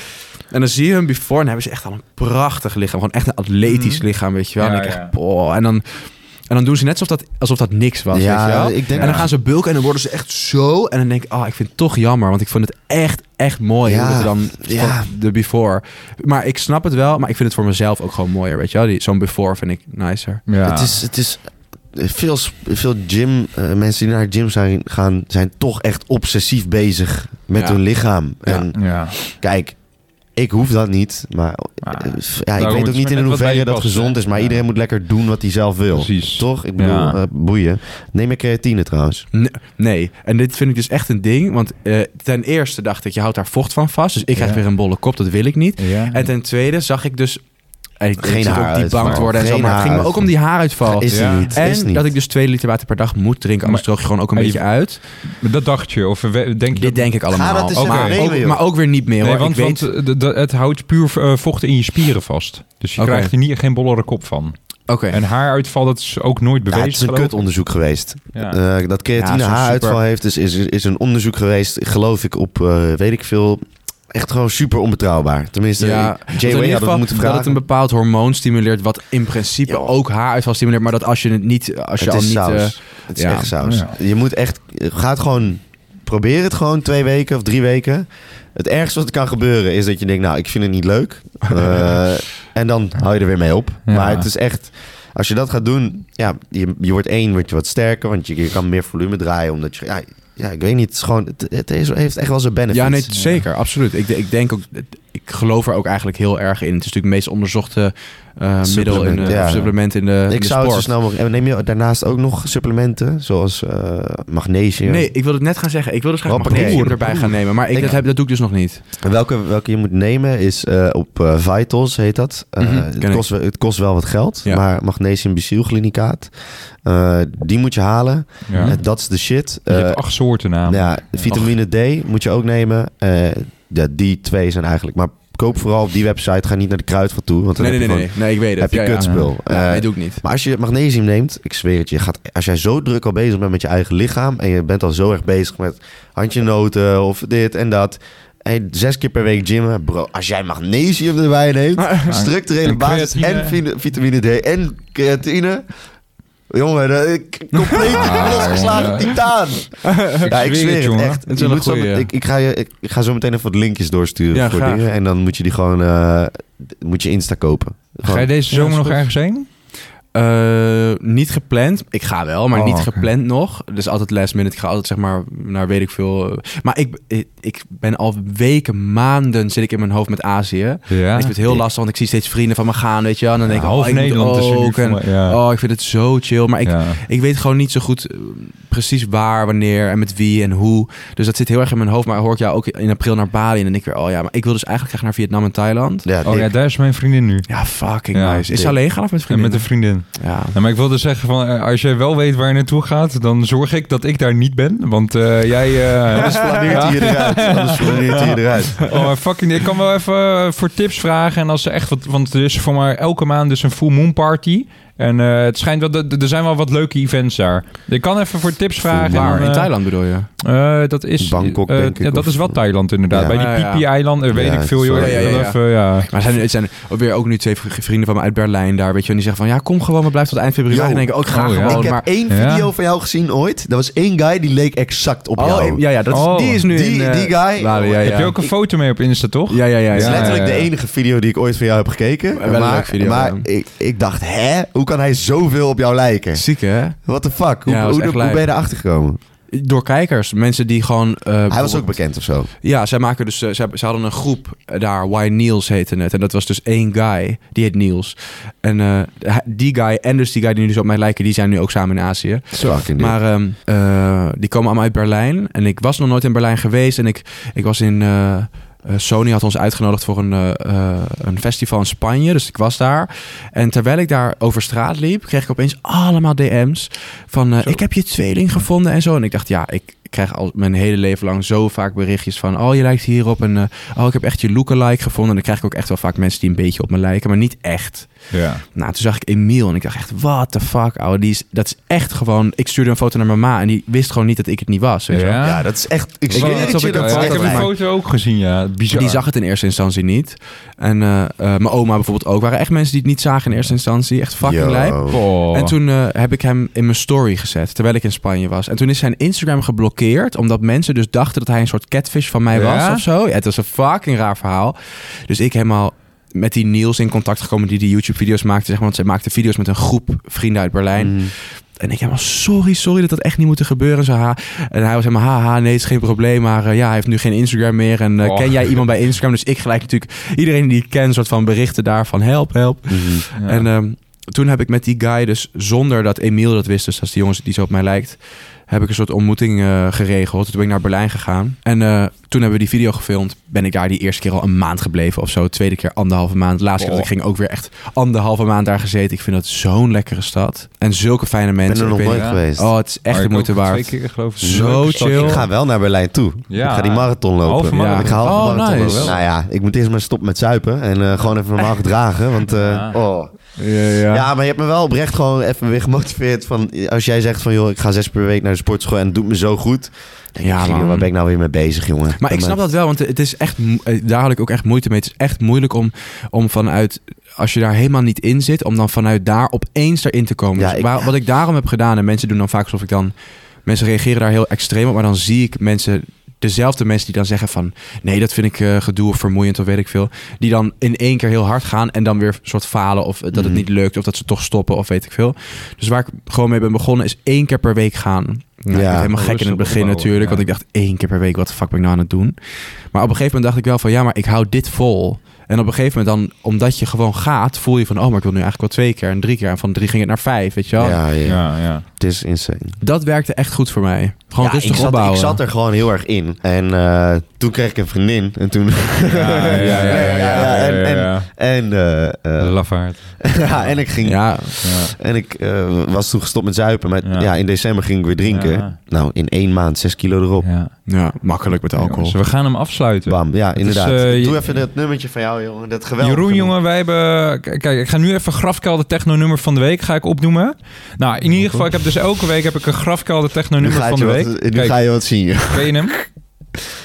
[SPEAKER 3] En dan zie je hun before en dan hebben ze echt al een prachtig lichaam. Gewoon echt een atletisch
[SPEAKER 1] Mhm.
[SPEAKER 3] lichaam, weet je wel.
[SPEAKER 1] Ja,
[SPEAKER 3] en, ik
[SPEAKER 1] ja.
[SPEAKER 3] echt, boah, en, dan, en dan doen ze net alsof dat, alsof dat niks was,
[SPEAKER 2] ja,
[SPEAKER 3] weet je wel.
[SPEAKER 2] ik denk...
[SPEAKER 3] En dan gaan ze bulken en dan worden ze echt zo. En dan denk ik, ah, ik vind het toch jammer. Want ik vond het echt, echt mooi.
[SPEAKER 2] Ja,
[SPEAKER 3] hoe dat er dan
[SPEAKER 2] ja.
[SPEAKER 3] van de before. Maar ik snap het wel. Maar ik vind het voor mezelf ook gewoon mooier, weet je wel. Die- Zo'n before vind ik nicer.
[SPEAKER 1] Ja.
[SPEAKER 2] Het is, het is veel, sp- veel gym, eh, mensen die naar het gym zijn, gaan, zijn toch echt obsessief bezig met
[SPEAKER 3] Ja.
[SPEAKER 2] hun lichaam.
[SPEAKER 3] Ja.
[SPEAKER 2] En
[SPEAKER 1] Ja.
[SPEAKER 2] kijk, ik hoef dat niet, maar eh,
[SPEAKER 1] Ah,
[SPEAKER 2] ja, ik
[SPEAKER 1] daarom
[SPEAKER 2] weet
[SPEAKER 1] het
[SPEAKER 2] ook
[SPEAKER 1] is
[SPEAKER 2] niet
[SPEAKER 1] maar
[SPEAKER 2] in
[SPEAKER 1] net wat bij
[SPEAKER 2] hoeverre
[SPEAKER 1] je
[SPEAKER 2] dat
[SPEAKER 1] past,
[SPEAKER 2] gezond
[SPEAKER 1] hè?
[SPEAKER 2] is, maar
[SPEAKER 1] Ja.
[SPEAKER 2] iedereen moet lekker doen wat hij zelf wil.
[SPEAKER 1] Precies.
[SPEAKER 2] Toch? Ik bedoel,
[SPEAKER 1] Ja.
[SPEAKER 2] eh, boeien. Neem je creatine trouwens.
[SPEAKER 3] Nee, nee. en dit vind ik dus echt een ding. Want eh, ten eerste dacht ik, je houdt daar vocht van vast. Dus ik krijg
[SPEAKER 1] Ja.
[SPEAKER 3] weer een bolle kop, dat wil ik niet.
[SPEAKER 1] Ja.
[SPEAKER 3] En ten tweede zag ik dus... en Ik,
[SPEAKER 2] Geen
[SPEAKER 3] ik zat ook
[SPEAKER 2] haaruitval.
[SPEAKER 3] die bang te worden en zo.
[SPEAKER 2] Geen
[SPEAKER 3] Maar het ging me ook om die haaruitval.
[SPEAKER 2] Is
[SPEAKER 1] Ja.
[SPEAKER 2] die niet. is
[SPEAKER 3] en
[SPEAKER 2] niet.
[SPEAKER 3] dat ik dus 2 liter water per dag moet drinken. Anders droog je gewoon ook een
[SPEAKER 1] Maar je-
[SPEAKER 3] beetje uit.
[SPEAKER 1] Dat dacht je? Of we- denk je dat-
[SPEAKER 3] Dit denk ik allemaal.
[SPEAKER 2] dat eens
[SPEAKER 3] Ook-
[SPEAKER 1] even
[SPEAKER 3] maar,
[SPEAKER 2] nemen,
[SPEAKER 3] ook,
[SPEAKER 2] joh.
[SPEAKER 3] maar ook weer niet meer
[SPEAKER 1] Nee,
[SPEAKER 3] hoor.
[SPEAKER 1] want,
[SPEAKER 3] ik weet,
[SPEAKER 1] want eh, d- d- het houdt puur eh, vocht in je spieren vast. Dus je
[SPEAKER 3] Oké.
[SPEAKER 1] krijgt er niet, geen bollere kop van.
[SPEAKER 3] Oké.
[SPEAKER 1] En haaruitval, dat is ook nooit
[SPEAKER 2] Ja,
[SPEAKER 1] bewezen.
[SPEAKER 2] het is een
[SPEAKER 1] geloof ik.
[SPEAKER 2] kutonderzoek geweest.
[SPEAKER 1] Ja.
[SPEAKER 2] Eh, dat creatine
[SPEAKER 3] Ja, zo'n
[SPEAKER 2] haaruitval
[SPEAKER 3] super-
[SPEAKER 2] heeft, is, is, is een onderzoek geweest, geloof ik, op eh, weet ik veel. Echt gewoon super onbetrouwbaar. Tenminste,
[SPEAKER 3] Ja,
[SPEAKER 2] ja, Jay Way eh, had het moeten
[SPEAKER 3] dat het
[SPEAKER 2] vragen.
[SPEAKER 3] een bepaald hormoon stimuleert, wat in principe
[SPEAKER 2] Joh.
[SPEAKER 3] ook haaruitval stimuleert, maar dat als je het niet, als je
[SPEAKER 2] het
[SPEAKER 3] al
[SPEAKER 2] is
[SPEAKER 3] niet,
[SPEAKER 2] saus.
[SPEAKER 3] eh,
[SPEAKER 2] het is
[SPEAKER 3] ja.
[SPEAKER 2] echt saus.
[SPEAKER 1] Ja.
[SPEAKER 2] Je moet echt... Ga het gewoon... Probeer het gewoon twee weken of drie weken. Het ergste wat er kan gebeuren is dat je denkt... Nou, ik vind het niet leuk. Eh, en dan hou je er weer mee op.
[SPEAKER 1] Ja.
[SPEAKER 2] Maar het is echt... Als je dat gaat doen... Ja, je, je wordt één, word je wat sterker. Want je, je kan meer volume draaien. Omdat je... Ja, ja ik weet niet. Het, is gewoon, het, het is- heeft echt wel zijn benefits.
[SPEAKER 3] ja, nee, zeker, absoluut. Ik, de- ik denk ook, het- ik geloof er ook eigenlijk heel erg in. Het is natuurlijk het meest onderzochte eh, middel in
[SPEAKER 2] Supplement,
[SPEAKER 3] de,
[SPEAKER 2] ja.
[SPEAKER 3] of supplement in de, in
[SPEAKER 2] Ik
[SPEAKER 3] de
[SPEAKER 2] zou het zo
[SPEAKER 3] sport.
[SPEAKER 2] snel mogelijk... En neem je daarnaast ook nog supplementen, zoals eh, magnesium?
[SPEAKER 3] Nee, ik wilde het net gaan zeggen. Ik wilde dus graag
[SPEAKER 2] Hoppakee.
[SPEAKER 3] magnesium
[SPEAKER 2] Oeh,
[SPEAKER 3] erbij gaan nemen. Maar ik,
[SPEAKER 2] Ik-
[SPEAKER 3] dat, heb, dat doe ik dus nog niet.
[SPEAKER 2] En Welke, welke je moet nemen is eh, op eh, Vitals, heet dat. Eh,
[SPEAKER 3] Mhm, ken
[SPEAKER 2] het,
[SPEAKER 3] ik.
[SPEAKER 2] kost, wel- het kost wel wat geld,
[SPEAKER 3] Ja.
[SPEAKER 2] maar magnesium bicylglinicaat, eh, die moet je halen.
[SPEAKER 1] Ja.
[SPEAKER 2] Eh, Dat is de shit.
[SPEAKER 1] je
[SPEAKER 2] Eh,
[SPEAKER 1] hebt acht soorten naam.
[SPEAKER 2] ja, vitamine D moet je ook nemen. Eh, ja, die twee zijn eigenlijk... Maar koop vooral op die website, ga niet naar de kruidvat toe. Want dan
[SPEAKER 3] Nee, nee,
[SPEAKER 2] heb
[SPEAKER 3] nee,
[SPEAKER 2] je,
[SPEAKER 3] nee. Nee, ik weet het.
[SPEAKER 2] gewoon- heb je
[SPEAKER 3] Ja, ja.
[SPEAKER 2] kutspul.
[SPEAKER 3] Ja,
[SPEAKER 2] Eh,
[SPEAKER 3] nee, doe ik niet.
[SPEAKER 2] Maar als je magnesium neemt, ik zweer het je, je gaat, als jij zo druk al bezig bent met je eigen lichaam en je bent al zo erg bezig met handje noten of dit en dat. En zes keer per week gymmen, bro. Als jij magnesium erbij neemt, structurele
[SPEAKER 1] en
[SPEAKER 2] basis en
[SPEAKER 1] creatine.
[SPEAKER 2] vi- vitamine D en creatine. Jongen, dat- ik- compleet
[SPEAKER 1] Ah,
[SPEAKER 2] losgeslagen
[SPEAKER 1] jongen.
[SPEAKER 2] titaan. Ja, ik zweer het,
[SPEAKER 1] jongen.
[SPEAKER 2] echt.
[SPEAKER 3] Het
[SPEAKER 2] Je
[SPEAKER 3] is wel een
[SPEAKER 2] moet zo
[SPEAKER 3] goeie,
[SPEAKER 2] met-
[SPEAKER 3] ja.
[SPEAKER 2] ik, ik, ga je, ik, ik ga zo meteen even wat linkjes doorsturen
[SPEAKER 3] Ja,
[SPEAKER 2] voor
[SPEAKER 3] graag.
[SPEAKER 2] dingen. En dan moet je die gewoon, eh, d- moet je Insta kopen. Gewoon-
[SPEAKER 1] Ga je deze
[SPEAKER 3] Ja,
[SPEAKER 1] zomer
[SPEAKER 3] is
[SPEAKER 1] nog
[SPEAKER 3] goed.
[SPEAKER 1] ergens heen?
[SPEAKER 3] Eh, niet gepland. Ik ga wel, maar
[SPEAKER 1] Oh,
[SPEAKER 3] niet
[SPEAKER 1] oké.
[SPEAKER 3] gepland nog. Dus altijd last minute. Ik ga altijd zeg maar naar weet ik veel. eh, Maar ik, ik- ik ben al weken, maanden zit ik in mijn hoofd met Azië.
[SPEAKER 1] Ja.
[SPEAKER 3] Ik vind het heel lastig, want ik zie steeds vrienden van me gaan, weet je wel. En dan denk ik,
[SPEAKER 1] half
[SPEAKER 3] oh, ik moet
[SPEAKER 1] Nederland is er nu
[SPEAKER 3] ook.
[SPEAKER 1] voor
[SPEAKER 3] En-
[SPEAKER 1] mij, ja.
[SPEAKER 3] Oh, ik vind het zo chill. Maar ik,
[SPEAKER 1] Ja.
[SPEAKER 3] ik weet gewoon niet zo goed eh, precies waar, wanneer en met wie en hoe. Dus dat zit heel erg in mijn hoofd. Maar hoor ik jou ook in april naar Bali en dan denk ik weer, oh ja, maar ik wil dus eigenlijk graag naar Vietnam en Thailand.
[SPEAKER 2] Ja,
[SPEAKER 1] Oh
[SPEAKER 2] dik.
[SPEAKER 1] ja, daar is mijn vriendin nu.
[SPEAKER 3] Ja, fucking
[SPEAKER 1] Ja,
[SPEAKER 3] nice. Is ze
[SPEAKER 2] dik.
[SPEAKER 3] alleen gaan of met
[SPEAKER 1] En
[SPEAKER 3] vrienden?
[SPEAKER 1] met een vriendin.
[SPEAKER 3] Ja.
[SPEAKER 1] Nou, maar ik wilde zeggen, van, eh, als jij wel weet waar je naartoe gaat, dan zorg ik dat ik daar niet ben. Want eh, jij... eh,
[SPEAKER 2] Anders flaneert hij je eruit. Anders flaneert hij je eruit.
[SPEAKER 1] Oh, maar fucking, ik kan wel even eh, voor tips vragen. En als ze echt wat, want er is voor maar elke maand dus een full moon party. En eh, het schijnt wel, dat- er zijn wel wat leuke events daar. Ik kan even voor tips vragen. en
[SPEAKER 3] Waar?
[SPEAKER 1] dan,
[SPEAKER 3] In
[SPEAKER 1] eh,
[SPEAKER 3] Thailand bedoel je?
[SPEAKER 1] eh, dat is
[SPEAKER 2] Bangkok,
[SPEAKER 1] eh,
[SPEAKER 2] denk ik,
[SPEAKER 1] ja, dat
[SPEAKER 2] of-
[SPEAKER 1] is wel Thailand inderdaad.
[SPEAKER 2] Ja.
[SPEAKER 1] Bij
[SPEAKER 3] Ja,
[SPEAKER 1] die
[SPEAKER 3] ja.
[SPEAKER 1] Pipi-eilanden, weet
[SPEAKER 2] Ja,
[SPEAKER 1] ik veel. Joh,
[SPEAKER 2] sorry.
[SPEAKER 1] Ik
[SPEAKER 3] Ja, ja,
[SPEAKER 1] wil
[SPEAKER 3] ja.
[SPEAKER 1] Even, ja.
[SPEAKER 3] Maar er zijn, er zijn weer ook nu twee v- vrienden van me uit Berlijn daar, weet je wel. En die zeggen van, ja, kom gewoon, we blijven tot eind februari.
[SPEAKER 2] Yo.
[SPEAKER 3] En dan denk ik, oh, ik ga
[SPEAKER 1] Oh, ja.
[SPEAKER 3] gewoon.
[SPEAKER 2] ik heb
[SPEAKER 3] maar,
[SPEAKER 2] één
[SPEAKER 1] Ja.
[SPEAKER 2] video van jou gezien ooit. Dat was één guy die leek exact op jou.
[SPEAKER 3] oh, ja, ja, dat is,
[SPEAKER 1] Oh.
[SPEAKER 3] die is nu
[SPEAKER 2] Die-
[SPEAKER 3] in, eh,
[SPEAKER 2] die guy.
[SPEAKER 3] Bali, ja, ja.
[SPEAKER 1] Heb je ook een foto mee op Insta, toch?
[SPEAKER 3] Ja, ja, ja.
[SPEAKER 2] Dat is
[SPEAKER 1] Ja,
[SPEAKER 2] letterlijk
[SPEAKER 1] ja, ja.
[SPEAKER 2] de enige video die ik ooit van jou heb gekeken.
[SPEAKER 3] Wel een
[SPEAKER 2] maar
[SPEAKER 3] leuk video,
[SPEAKER 2] maar
[SPEAKER 3] ja.
[SPEAKER 2] ik, ik dacht, hè? Hoe kan hij zoveel op jou lijken?
[SPEAKER 3] Ziek, hè?
[SPEAKER 2] What the fuck? Hoe,
[SPEAKER 3] Ja, was
[SPEAKER 2] hoe,
[SPEAKER 3] echt
[SPEAKER 2] hoe
[SPEAKER 3] lijp.
[SPEAKER 2] ben je erachter gekomen?
[SPEAKER 3] Door kijkers. Mensen die gewoon...
[SPEAKER 2] Hij
[SPEAKER 3] eh,
[SPEAKER 2] was ook
[SPEAKER 3] bijvoorbeeld-
[SPEAKER 2] bekend of zo.
[SPEAKER 3] Ja, zij maken dus... eh, zij, ze hadden een groep eh, daar. Why Niels heette het. En dat was dus één guy. Die heet Niels. En eh, hij- die guy en dus die guy die nu zo op mij lijken... die zijn nu ook samen in Azië.
[SPEAKER 2] Fucking
[SPEAKER 3] Maar ehm, eh, die komen allemaal uit Berlijn. En ik was nog nooit in Berlijn geweest. En ik, ik was in... eh, eh, Sony had ons uitgenodigd voor een, eh, eh, een festival in Spanje. Dus ik was daar. En terwijl ik daar over straat liep, kreeg ik opeens allemaal DM's. Van eh,
[SPEAKER 2] Zo.
[SPEAKER 3] ik heb je tweeling gevonden en zo. En ik dacht, ja, ik krijg al mijn hele leven lang zo vaak berichtjes van. Oh, je lijkt hierop. En eh, oh, ik heb echt je lookalike gevonden. En dan krijg ik ook echt wel vaak mensen die een beetje op me lijken, maar niet echt.
[SPEAKER 1] Ja.
[SPEAKER 3] Nou, toen zag ik Emiel en ik dacht echt, what the fuck, ouwe. Die is, dat is echt gewoon... Ik stuurde een foto naar mijn ma en die wist gewoon niet dat ik het niet was. Weet je wel.
[SPEAKER 1] Ja.
[SPEAKER 2] Ja, dat is echt... Ik
[SPEAKER 3] Ik
[SPEAKER 2] zweer
[SPEAKER 3] weet niet
[SPEAKER 2] het
[SPEAKER 3] of
[SPEAKER 2] je,
[SPEAKER 3] ik
[SPEAKER 2] dat
[SPEAKER 3] dat
[SPEAKER 2] is
[SPEAKER 1] Ja, ik
[SPEAKER 2] echt
[SPEAKER 1] heb die
[SPEAKER 2] lijp.
[SPEAKER 1] foto ook gezien, ja. Bizar.
[SPEAKER 3] Die zag het in eerste instantie niet. En eh, eh, mijn oma bijvoorbeeld ook. waren echt mensen die het niet zagen in eerste instantie. Echt fucking
[SPEAKER 2] Yo. Mm-hmm.
[SPEAKER 3] lijp.
[SPEAKER 1] Oh.
[SPEAKER 3] En toen eh, heb ik hem in mijn story gezet, terwijl ik in Spanje was. En toen is zijn Instagram geblokkeerd, omdat mensen dus dachten dat hij een soort catfish van mij
[SPEAKER 1] Ja?
[SPEAKER 3] was of zo. Ja, het was een fucking raar verhaal. Dus ik helemaal met die Niels in contact gekomen die die YouTube-video's maakte. Zeg maar, want zij maakte video's met een groep vrienden uit Berlijn.
[SPEAKER 2] Mm.
[SPEAKER 3] En ik helemaal, sorry, sorry dat dat echt niet moet gebeuren. En, zo, ha. en hij was helemaal, haha, nee, het is geen probleem. Maar eh, ja, hij heeft nu geen Instagram meer. En eh,
[SPEAKER 1] Oh.
[SPEAKER 3] ken jij iemand bij Instagram? Dus ik gelijk natuurlijk iedereen die ik ken, een soort van berichten daarvan, help, help.
[SPEAKER 2] Mhm.
[SPEAKER 1] Ja.
[SPEAKER 3] En ehm, toen heb ik met die guy, dus zonder dat Emiel dat wist, dus dat is die jongens die zo op mij lijkt, heb ik een soort ontmoeting eh, geregeld. Toen ben ik naar Berlijn gegaan. En eh, toen hebben we die video gefilmd. Ben ik daar die eerste keer al een maand gebleven of zo. Tweede keer anderhalve maand. Laatste keer dat ik ging ook weer echt anderhalve maand daar gezeten. Ik vind dat zo'n lekkere stad. En zulke fijne
[SPEAKER 2] Ik ben
[SPEAKER 3] mensen.
[SPEAKER 2] er nog
[SPEAKER 3] Ik weet-
[SPEAKER 2] nooit
[SPEAKER 1] ja.
[SPEAKER 2] geweest.
[SPEAKER 3] oh, het is echt
[SPEAKER 1] Maar
[SPEAKER 3] de
[SPEAKER 1] ik
[SPEAKER 3] moeite
[SPEAKER 1] ook
[SPEAKER 3] waard.
[SPEAKER 1] Twee keer geloof ik.
[SPEAKER 3] Zo
[SPEAKER 1] Leuk stadje.
[SPEAKER 3] chill.
[SPEAKER 2] Ik ga wel naar Berlijn toe.
[SPEAKER 1] Ja.
[SPEAKER 2] Ik ga die marathon lopen.
[SPEAKER 1] Halve marathon.
[SPEAKER 2] Ik ga halve
[SPEAKER 3] Oh,
[SPEAKER 2] marathon
[SPEAKER 3] nice.
[SPEAKER 2] lopen. Nou ja, ik moet eerst maar stoppen met zuipen. En eh, gewoon even normaal gedragen. Want, eh,
[SPEAKER 1] Ja.
[SPEAKER 2] oh. ja. maar je hebt me wel oprecht gewoon even weer gemotiveerd. Van, als jij zegt van, joh, ik ga zes per week naar de sportschool en het doet me zo goed. Dan
[SPEAKER 3] Ja,
[SPEAKER 2] ja,
[SPEAKER 3] man.
[SPEAKER 2] man. Waar ben ik nou weer mee bezig, jongen?
[SPEAKER 3] Maar ik snap dat wel, want het is echt, mo- eh, daar had ik ook echt moeite mee. Het is echt moeilijk om, om vanuit, als je daar helemaal niet in zit, om dan vanuit daar opeens erin te komen.
[SPEAKER 2] Ja,
[SPEAKER 3] Dus
[SPEAKER 2] ik-
[SPEAKER 3] waar- wat ik daarom heb gedaan, en mensen doen dan vaak alsof ik dan, mensen reageren daar heel extreem op, maar dan zie ik mensen dezelfde mensen die dan zeggen van... nee, dat vind ik eh, gedoe of vermoeiend of weet ik veel... die dan in één keer heel hard gaan en dan weer een soort falen... of dat het
[SPEAKER 2] Mhm.
[SPEAKER 3] niet lukt of dat ze toch stoppen of weet ik veel. Dus waar ik gewoon mee ben begonnen is één keer per week gaan. Nou, ik werd
[SPEAKER 2] Ja.
[SPEAKER 3] helemaal gek in
[SPEAKER 1] Rustig
[SPEAKER 3] het begin
[SPEAKER 1] opbouwen, ja.
[SPEAKER 3] natuurlijk... want ik dacht één keer per week, wat de fuck ben ik nou aan het doen? Maar op een gegeven moment dacht ik wel van... ja, maar ik hou dit vol... En op een gegeven moment dan, omdat je gewoon gaat, voel je van... oh, maar ik wil nu eigenlijk wel twee keer en drie keer. En van drie ging het naar vijf, weet je wel.
[SPEAKER 2] Ja, ja.
[SPEAKER 1] Ja, ja.
[SPEAKER 2] Het is insane.
[SPEAKER 3] Dat werkte echt goed voor mij. Gewoon
[SPEAKER 2] ja,
[SPEAKER 3] rustig
[SPEAKER 2] ik zat,
[SPEAKER 3] opbouwen.
[SPEAKER 2] Ik zat er gewoon heel erg in. En eh, toen kreeg ik een vriendin. En toen...
[SPEAKER 1] Ja, ja, ja, ja, ja, ja,
[SPEAKER 2] En,
[SPEAKER 1] ja,
[SPEAKER 2] en,
[SPEAKER 1] ja.
[SPEAKER 2] en, eh, eh,
[SPEAKER 1] Lafaard.
[SPEAKER 2] ja, en ik ging...
[SPEAKER 3] Ja,
[SPEAKER 1] Ja.
[SPEAKER 2] En ik eh, was toen gestopt met zuipen. Maar
[SPEAKER 1] Ja.
[SPEAKER 2] ja. in december ging ik weer drinken.
[SPEAKER 1] Ja.
[SPEAKER 2] Nou, in één maand zes kilo erop.
[SPEAKER 1] Ja.
[SPEAKER 3] ja, makkelijk met alcohol.
[SPEAKER 1] Jongens, we gaan hem afsluiten.
[SPEAKER 2] Bam, ja, inderdaad.
[SPEAKER 1] is, eh,
[SPEAKER 2] Doe
[SPEAKER 1] je-
[SPEAKER 2] even dat nummertje van jou, jongen. Dat geweldig.
[SPEAKER 1] Jeroen, jongen, wij hebben... k- Kijk, ik ga nu even grafkelder technonummer van de week ga ik opnoemen. Nou, in ieder geval, ik heb dus elke week heb ik een grafkelder
[SPEAKER 2] nu
[SPEAKER 1] technonummer
[SPEAKER 2] ga,
[SPEAKER 1] van
[SPEAKER 2] je
[SPEAKER 1] de
[SPEAKER 2] wat, eh,
[SPEAKER 1] week.
[SPEAKER 2] nu
[SPEAKER 1] Kijk,
[SPEAKER 2] ga je wat zien. joh.
[SPEAKER 1] ken je hem?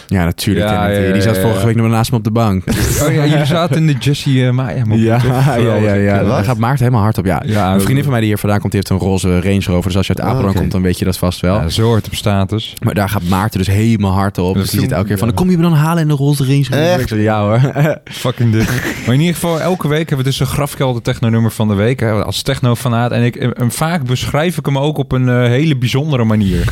[SPEAKER 3] Ja, natuurlijk.
[SPEAKER 1] Ja,
[SPEAKER 3] ken ik die.
[SPEAKER 1] ja,
[SPEAKER 3] die zat
[SPEAKER 1] ja,
[SPEAKER 3] vorige
[SPEAKER 1] ja.
[SPEAKER 3] week nog naast me op de bank.
[SPEAKER 1] Oh ja, jullie zaten in de Jesse eh, Maya mopje,
[SPEAKER 3] ja,
[SPEAKER 1] toch?
[SPEAKER 3] ja, ja, ja,
[SPEAKER 1] Geweldig.
[SPEAKER 2] Wat?
[SPEAKER 3] Daar gaat Maarten helemaal hard op. Ja.
[SPEAKER 1] Ja,
[SPEAKER 3] Een vriendin van mij die hier vandaan komt, die heeft een roze Range Rover. Dus als je uit
[SPEAKER 2] Ah,
[SPEAKER 3] Apeldoorn
[SPEAKER 2] oké.
[SPEAKER 3] komt, dan weet je dat vast wel.
[SPEAKER 1] Ja, zo hoort op status.
[SPEAKER 3] Maar daar gaat Maarten dus helemaal hard op.
[SPEAKER 1] Dat
[SPEAKER 3] Dus die zit
[SPEAKER 1] filmpje,
[SPEAKER 3] elke keer van,
[SPEAKER 1] ja.
[SPEAKER 3] dan kom je me dan halen in de roze Range Rover.
[SPEAKER 2] Echt?
[SPEAKER 3] Ik zeg, ja hoor.
[SPEAKER 1] Fucking dik. maar in ieder geval, elke week hebben we dus een grafkelder technonummer van de week. Hè, als technofanaat. En ik, en vaak beschrijf ik hem ook op een eh, hele bijzondere manier.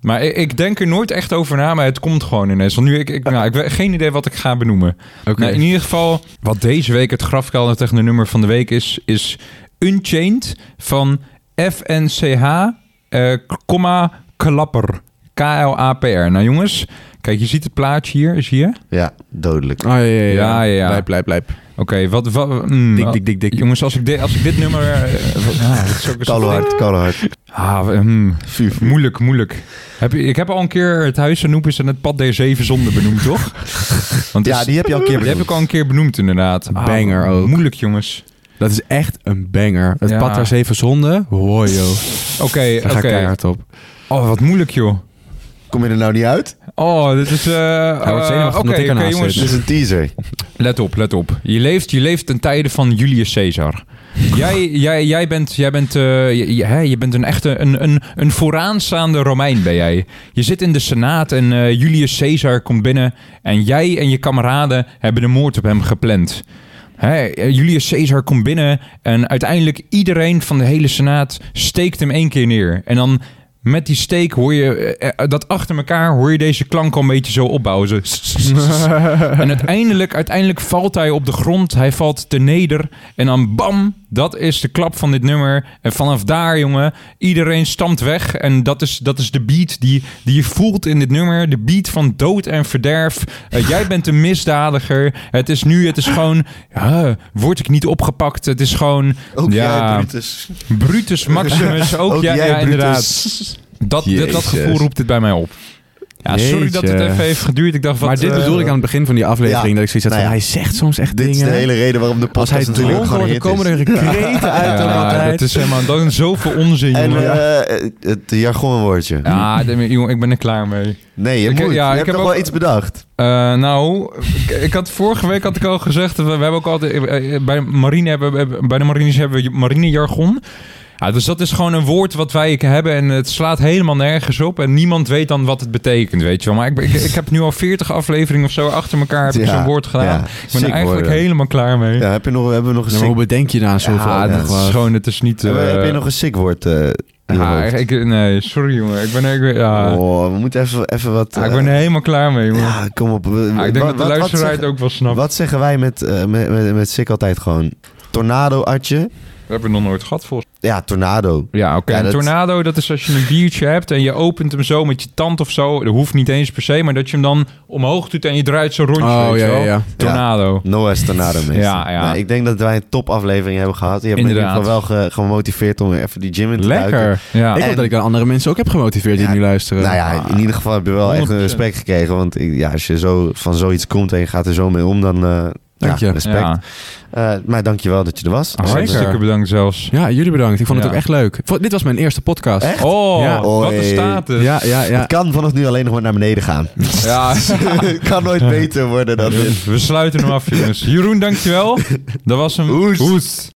[SPEAKER 1] maar ik, ik denk er nooit echt over na, maar het komt gewoon ineens. Want nu, ik, ik, nou, ik heb geen idee wat ik ga benoemen.
[SPEAKER 3] Oké.
[SPEAKER 1] Nou, in ieder geval, wat deze week het grafkelder technonummer van de week is, is Unchained van FNCH, eh, komma, klapper. K-L-A-P-R. Nou jongens, kijk, je ziet het plaatje hier, zie je?
[SPEAKER 2] Ja, dodelijk.
[SPEAKER 3] Oh ja, ja,
[SPEAKER 1] Ja,
[SPEAKER 3] ja.
[SPEAKER 1] ja.
[SPEAKER 3] Blijf, blijf, blijf.
[SPEAKER 1] Oké, wat... wat mm,
[SPEAKER 3] Dik, dik, dik, dik.
[SPEAKER 1] Jongens, als ik, dit als ik dit nummer... eh, wat- ah, dat is ook een
[SPEAKER 2] Koude
[SPEAKER 1] soort-
[SPEAKER 2] hard, koude hard.
[SPEAKER 1] Ah, w- mm,
[SPEAKER 2] Vuur.
[SPEAKER 1] moeilijk, moeilijk. Heb, je- ik heb al een keer het huis van Noepis en het pad der zeven zonden benoemd, toch? Want
[SPEAKER 2] Ja,
[SPEAKER 3] Dus-
[SPEAKER 1] is-
[SPEAKER 2] die heb je al een keer
[SPEAKER 1] die heb
[SPEAKER 2] benoemd.
[SPEAKER 1] ik al een keer benoemd, inderdaad. Ah,
[SPEAKER 3] Banger ook.
[SPEAKER 1] Moeilijk, jongens.
[SPEAKER 3] Dat is echt een banger. Het
[SPEAKER 1] Ja.
[SPEAKER 3] pad daar zeven zonden. Hoor joh.
[SPEAKER 1] Oké,
[SPEAKER 3] Daar
[SPEAKER 1] oké.
[SPEAKER 3] ga ik keihard op.
[SPEAKER 1] Oh, wat moeilijk, joh.
[SPEAKER 2] Kom je er nou niet uit?
[SPEAKER 1] Oh, dit is... eh,
[SPEAKER 3] wordt
[SPEAKER 1] eh,
[SPEAKER 3] zenuwachtig
[SPEAKER 1] Oké,
[SPEAKER 3] omdat ik
[SPEAKER 1] oké,
[SPEAKER 3] ernaast
[SPEAKER 1] jongens.
[SPEAKER 2] Dit is een teaser.
[SPEAKER 1] Let op, let op. Je leeft, je leeft ten tijde van Julius Caesar. Jij, jij, jij, bent, jij, bent, eh, je, je- hè, je bent een echte een, een, een vooraanstaande Romein ben jij. Je zit in de Senaat en eh, Julius Caesar komt binnen en jij en je kameraden hebben de moord op hem gepland. Hè, eh, Julius Caesar komt binnen en uiteindelijk iedereen van de hele Senaat steekt hem één keer neer. En dan met die steek hoor je eh, eh, dat achter elkaar hoor je deze klank al een beetje zo opbouwen. Zo. En uiteindelijk, uiteindelijk valt hij op de grond. Hij valt te neder. En dan bam, dat is de klap van dit nummer. En vanaf daar, jongen, iedereen stamt weg. En dat is, dat is de beat die, die je voelt in dit nummer. De beat van dood en verderf. Eh, jij bent een misdadiger. Het is nu, het is gewoon... ja, word ik niet opgepakt? Het is gewoon...
[SPEAKER 2] Ook
[SPEAKER 1] ja,
[SPEAKER 2] jij, dus Brutus.
[SPEAKER 1] Brutus Maximus. Ook,
[SPEAKER 2] Ook
[SPEAKER 1] jij,
[SPEAKER 2] jij,
[SPEAKER 1] ja,
[SPEAKER 2] Brutus.
[SPEAKER 1] inderdaad. Dat, dat, dat
[SPEAKER 3] Jezus.
[SPEAKER 1] gevoel roept dit bij mij op. Ja, sorry dat het
[SPEAKER 3] Jeetje.
[SPEAKER 1] even heeft geduurd. Ik dacht, wat,
[SPEAKER 3] maar dit
[SPEAKER 1] eh,
[SPEAKER 3] bedoel ik aan het begin van die aflevering.
[SPEAKER 2] Ja.
[SPEAKER 3] Dat ik zoiets had
[SPEAKER 2] Nou
[SPEAKER 3] van,
[SPEAKER 2] ja.
[SPEAKER 3] hij zegt soms echt
[SPEAKER 2] Dit is de
[SPEAKER 3] dingen.
[SPEAKER 2] hele reden waarom de
[SPEAKER 3] Als hij
[SPEAKER 2] podcast natuurlijk
[SPEAKER 3] dronken
[SPEAKER 2] gewoon
[SPEAKER 3] wordt,
[SPEAKER 2] een
[SPEAKER 3] dan
[SPEAKER 2] hit is.
[SPEAKER 3] komen er kreten uit. dan
[SPEAKER 1] Ja,
[SPEAKER 3] altijd.
[SPEAKER 1] dat is helemaal dan zoveel onzin.
[SPEAKER 2] En
[SPEAKER 1] jongen.
[SPEAKER 2] eh, het jargonwoordje.
[SPEAKER 1] ja, dit- jongen, ik ben er klaar mee.
[SPEAKER 2] Nee, je
[SPEAKER 1] Ik-
[SPEAKER 2] moet.
[SPEAKER 1] ja,
[SPEAKER 2] je
[SPEAKER 1] ik
[SPEAKER 2] hebt
[SPEAKER 1] heb
[SPEAKER 2] toch
[SPEAKER 1] ook-
[SPEAKER 2] wel iets bedacht?
[SPEAKER 1] Eh, nou, ik, ik had vorige week had ik al gezegd, we, we hebben ook altijd eh, bij marine hebben we- eh, bij de marines hebben we marinejargon. Ja, dus dat is gewoon een woord wat wij hebben en het slaat helemaal nergens op en niemand weet dan wat het betekent, weet je wel. Maar ik, ben- ik, ik heb nu al 40 afleveringen of zo achter elkaar heb ik
[SPEAKER 2] Ja,
[SPEAKER 1] zo'n woord gedaan.
[SPEAKER 2] ja,
[SPEAKER 1] ik ben
[SPEAKER 2] sick
[SPEAKER 1] er eigenlijk
[SPEAKER 2] woorden.
[SPEAKER 1] helemaal klaar mee. Ja,
[SPEAKER 2] Ja, heb je nog, hebben we nog een
[SPEAKER 3] Ja, maar
[SPEAKER 2] sick...
[SPEAKER 3] hoe bedenk je nou zoveel?
[SPEAKER 2] dat
[SPEAKER 1] dat is
[SPEAKER 3] was
[SPEAKER 1] gewoon, het is niet...
[SPEAKER 2] Hebben-
[SPEAKER 1] eh,
[SPEAKER 2] heb je nog een sick woord? eh, in je
[SPEAKER 1] ja,
[SPEAKER 2] hoofd?
[SPEAKER 1] ik, nee, sorry jongen, ik ben er... ik- ja.
[SPEAKER 2] Oh, we moeten even, even wat...
[SPEAKER 1] Ah. Ja, ik
[SPEAKER 2] eh,
[SPEAKER 1] ben er helemaal klaar mee, jongen.
[SPEAKER 2] ja, kom op. we-
[SPEAKER 1] Ja, ik denk dat
[SPEAKER 2] wa-
[SPEAKER 1] de
[SPEAKER 2] wat- wat
[SPEAKER 1] luisteraar
[SPEAKER 2] zeggen-
[SPEAKER 1] het ook wel snapt.
[SPEAKER 2] Wat zeggen wij met, eh, met, met, met Sick altijd gewoon? Tornado-atje?
[SPEAKER 1] We hebben nog nooit gehad, volgens
[SPEAKER 2] Ja, tornado.
[SPEAKER 1] Ja, oké.
[SPEAKER 2] Ja,
[SPEAKER 1] een
[SPEAKER 2] dat-
[SPEAKER 1] tornado, dat is als je een biertje hebt en je opent hem zo met je tand of zo. Dat hoeft niet eens per se, maar dat je hem dan omhoog doet en je draait zo rondje.
[SPEAKER 3] Oh
[SPEAKER 1] weet
[SPEAKER 3] ja,
[SPEAKER 1] je
[SPEAKER 3] ja,
[SPEAKER 1] wel.
[SPEAKER 3] ja.
[SPEAKER 1] Tornado.
[SPEAKER 2] Noah's Tornado meester.
[SPEAKER 1] Ja, ja.
[SPEAKER 2] Nou, ik denk dat wij een topaflevering hebben gehad. Je hebt me
[SPEAKER 1] Inderdaad.
[SPEAKER 2] in ieder geval wel ge- gemotiveerd om weer even die gym in te duiken.
[SPEAKER 1] Lekker. Ja.
[SPEAKER 3] Ik hoop
[SPEAKER 2] En-
[SPEAKER 3] dat ik aan andere mensen ook heb gemotiveerd die
[SPEAKER 2] Ja,
[SPEAKER 3] nu luisteren. Ah.
[SPEAKER 2] Nou ja, in ieder geval heb je wel echt een
[SPEAKER 1] 100%.
[SPEAKER 2] respect gekregen. Want ik- ja, als je zo van zoiets komt en je gaat er zo mee om, dan eh,
[SPEAKER 3] Dank
[SPEAKER 2] ja,
[SPEAKER 3] je.
[SPEAKER 2] respect.
[SPEAKER 1] Ja.
[SPEAKER 2] Eh, maar dankjewel dat je er was.
[SPEAKER 3] Ah,
[SPEAKER 2] Zeker.
[SPEAKER 1] Hartstikke bedankt zelfs.
[SPEAKER 3] Ja, jullie bedankt. Ik vond
[SPEAKER 1] Ja.
[SPEAKER 3] het ook echt leuk. Vo- dit was mijn eerste podcast.
[SPEAKER 2] Echt?
[SPEAKER 1] Oh,
[SPEAKER 3] Ja.
[SPEAKER 1] wat een
[SPEAKER 2] Oei.
[SPEAKER 1] status.
[SPEAKER 3] Ja, ja, ja.
[SPEAKER 2] Het kan vanaf nu alleen nog maar naar beneden gaan.
[SPEAKER 1] Ja.
[SPEAKER 2] Het kan nooit beter worden dan dit.
[SPEAKER 1] We sluiten hem af, jongens. Jeroen, dankjewel. Dat was hem.
[SPEAKER 2] Hoes.
[SPEAKER 1] Hoes.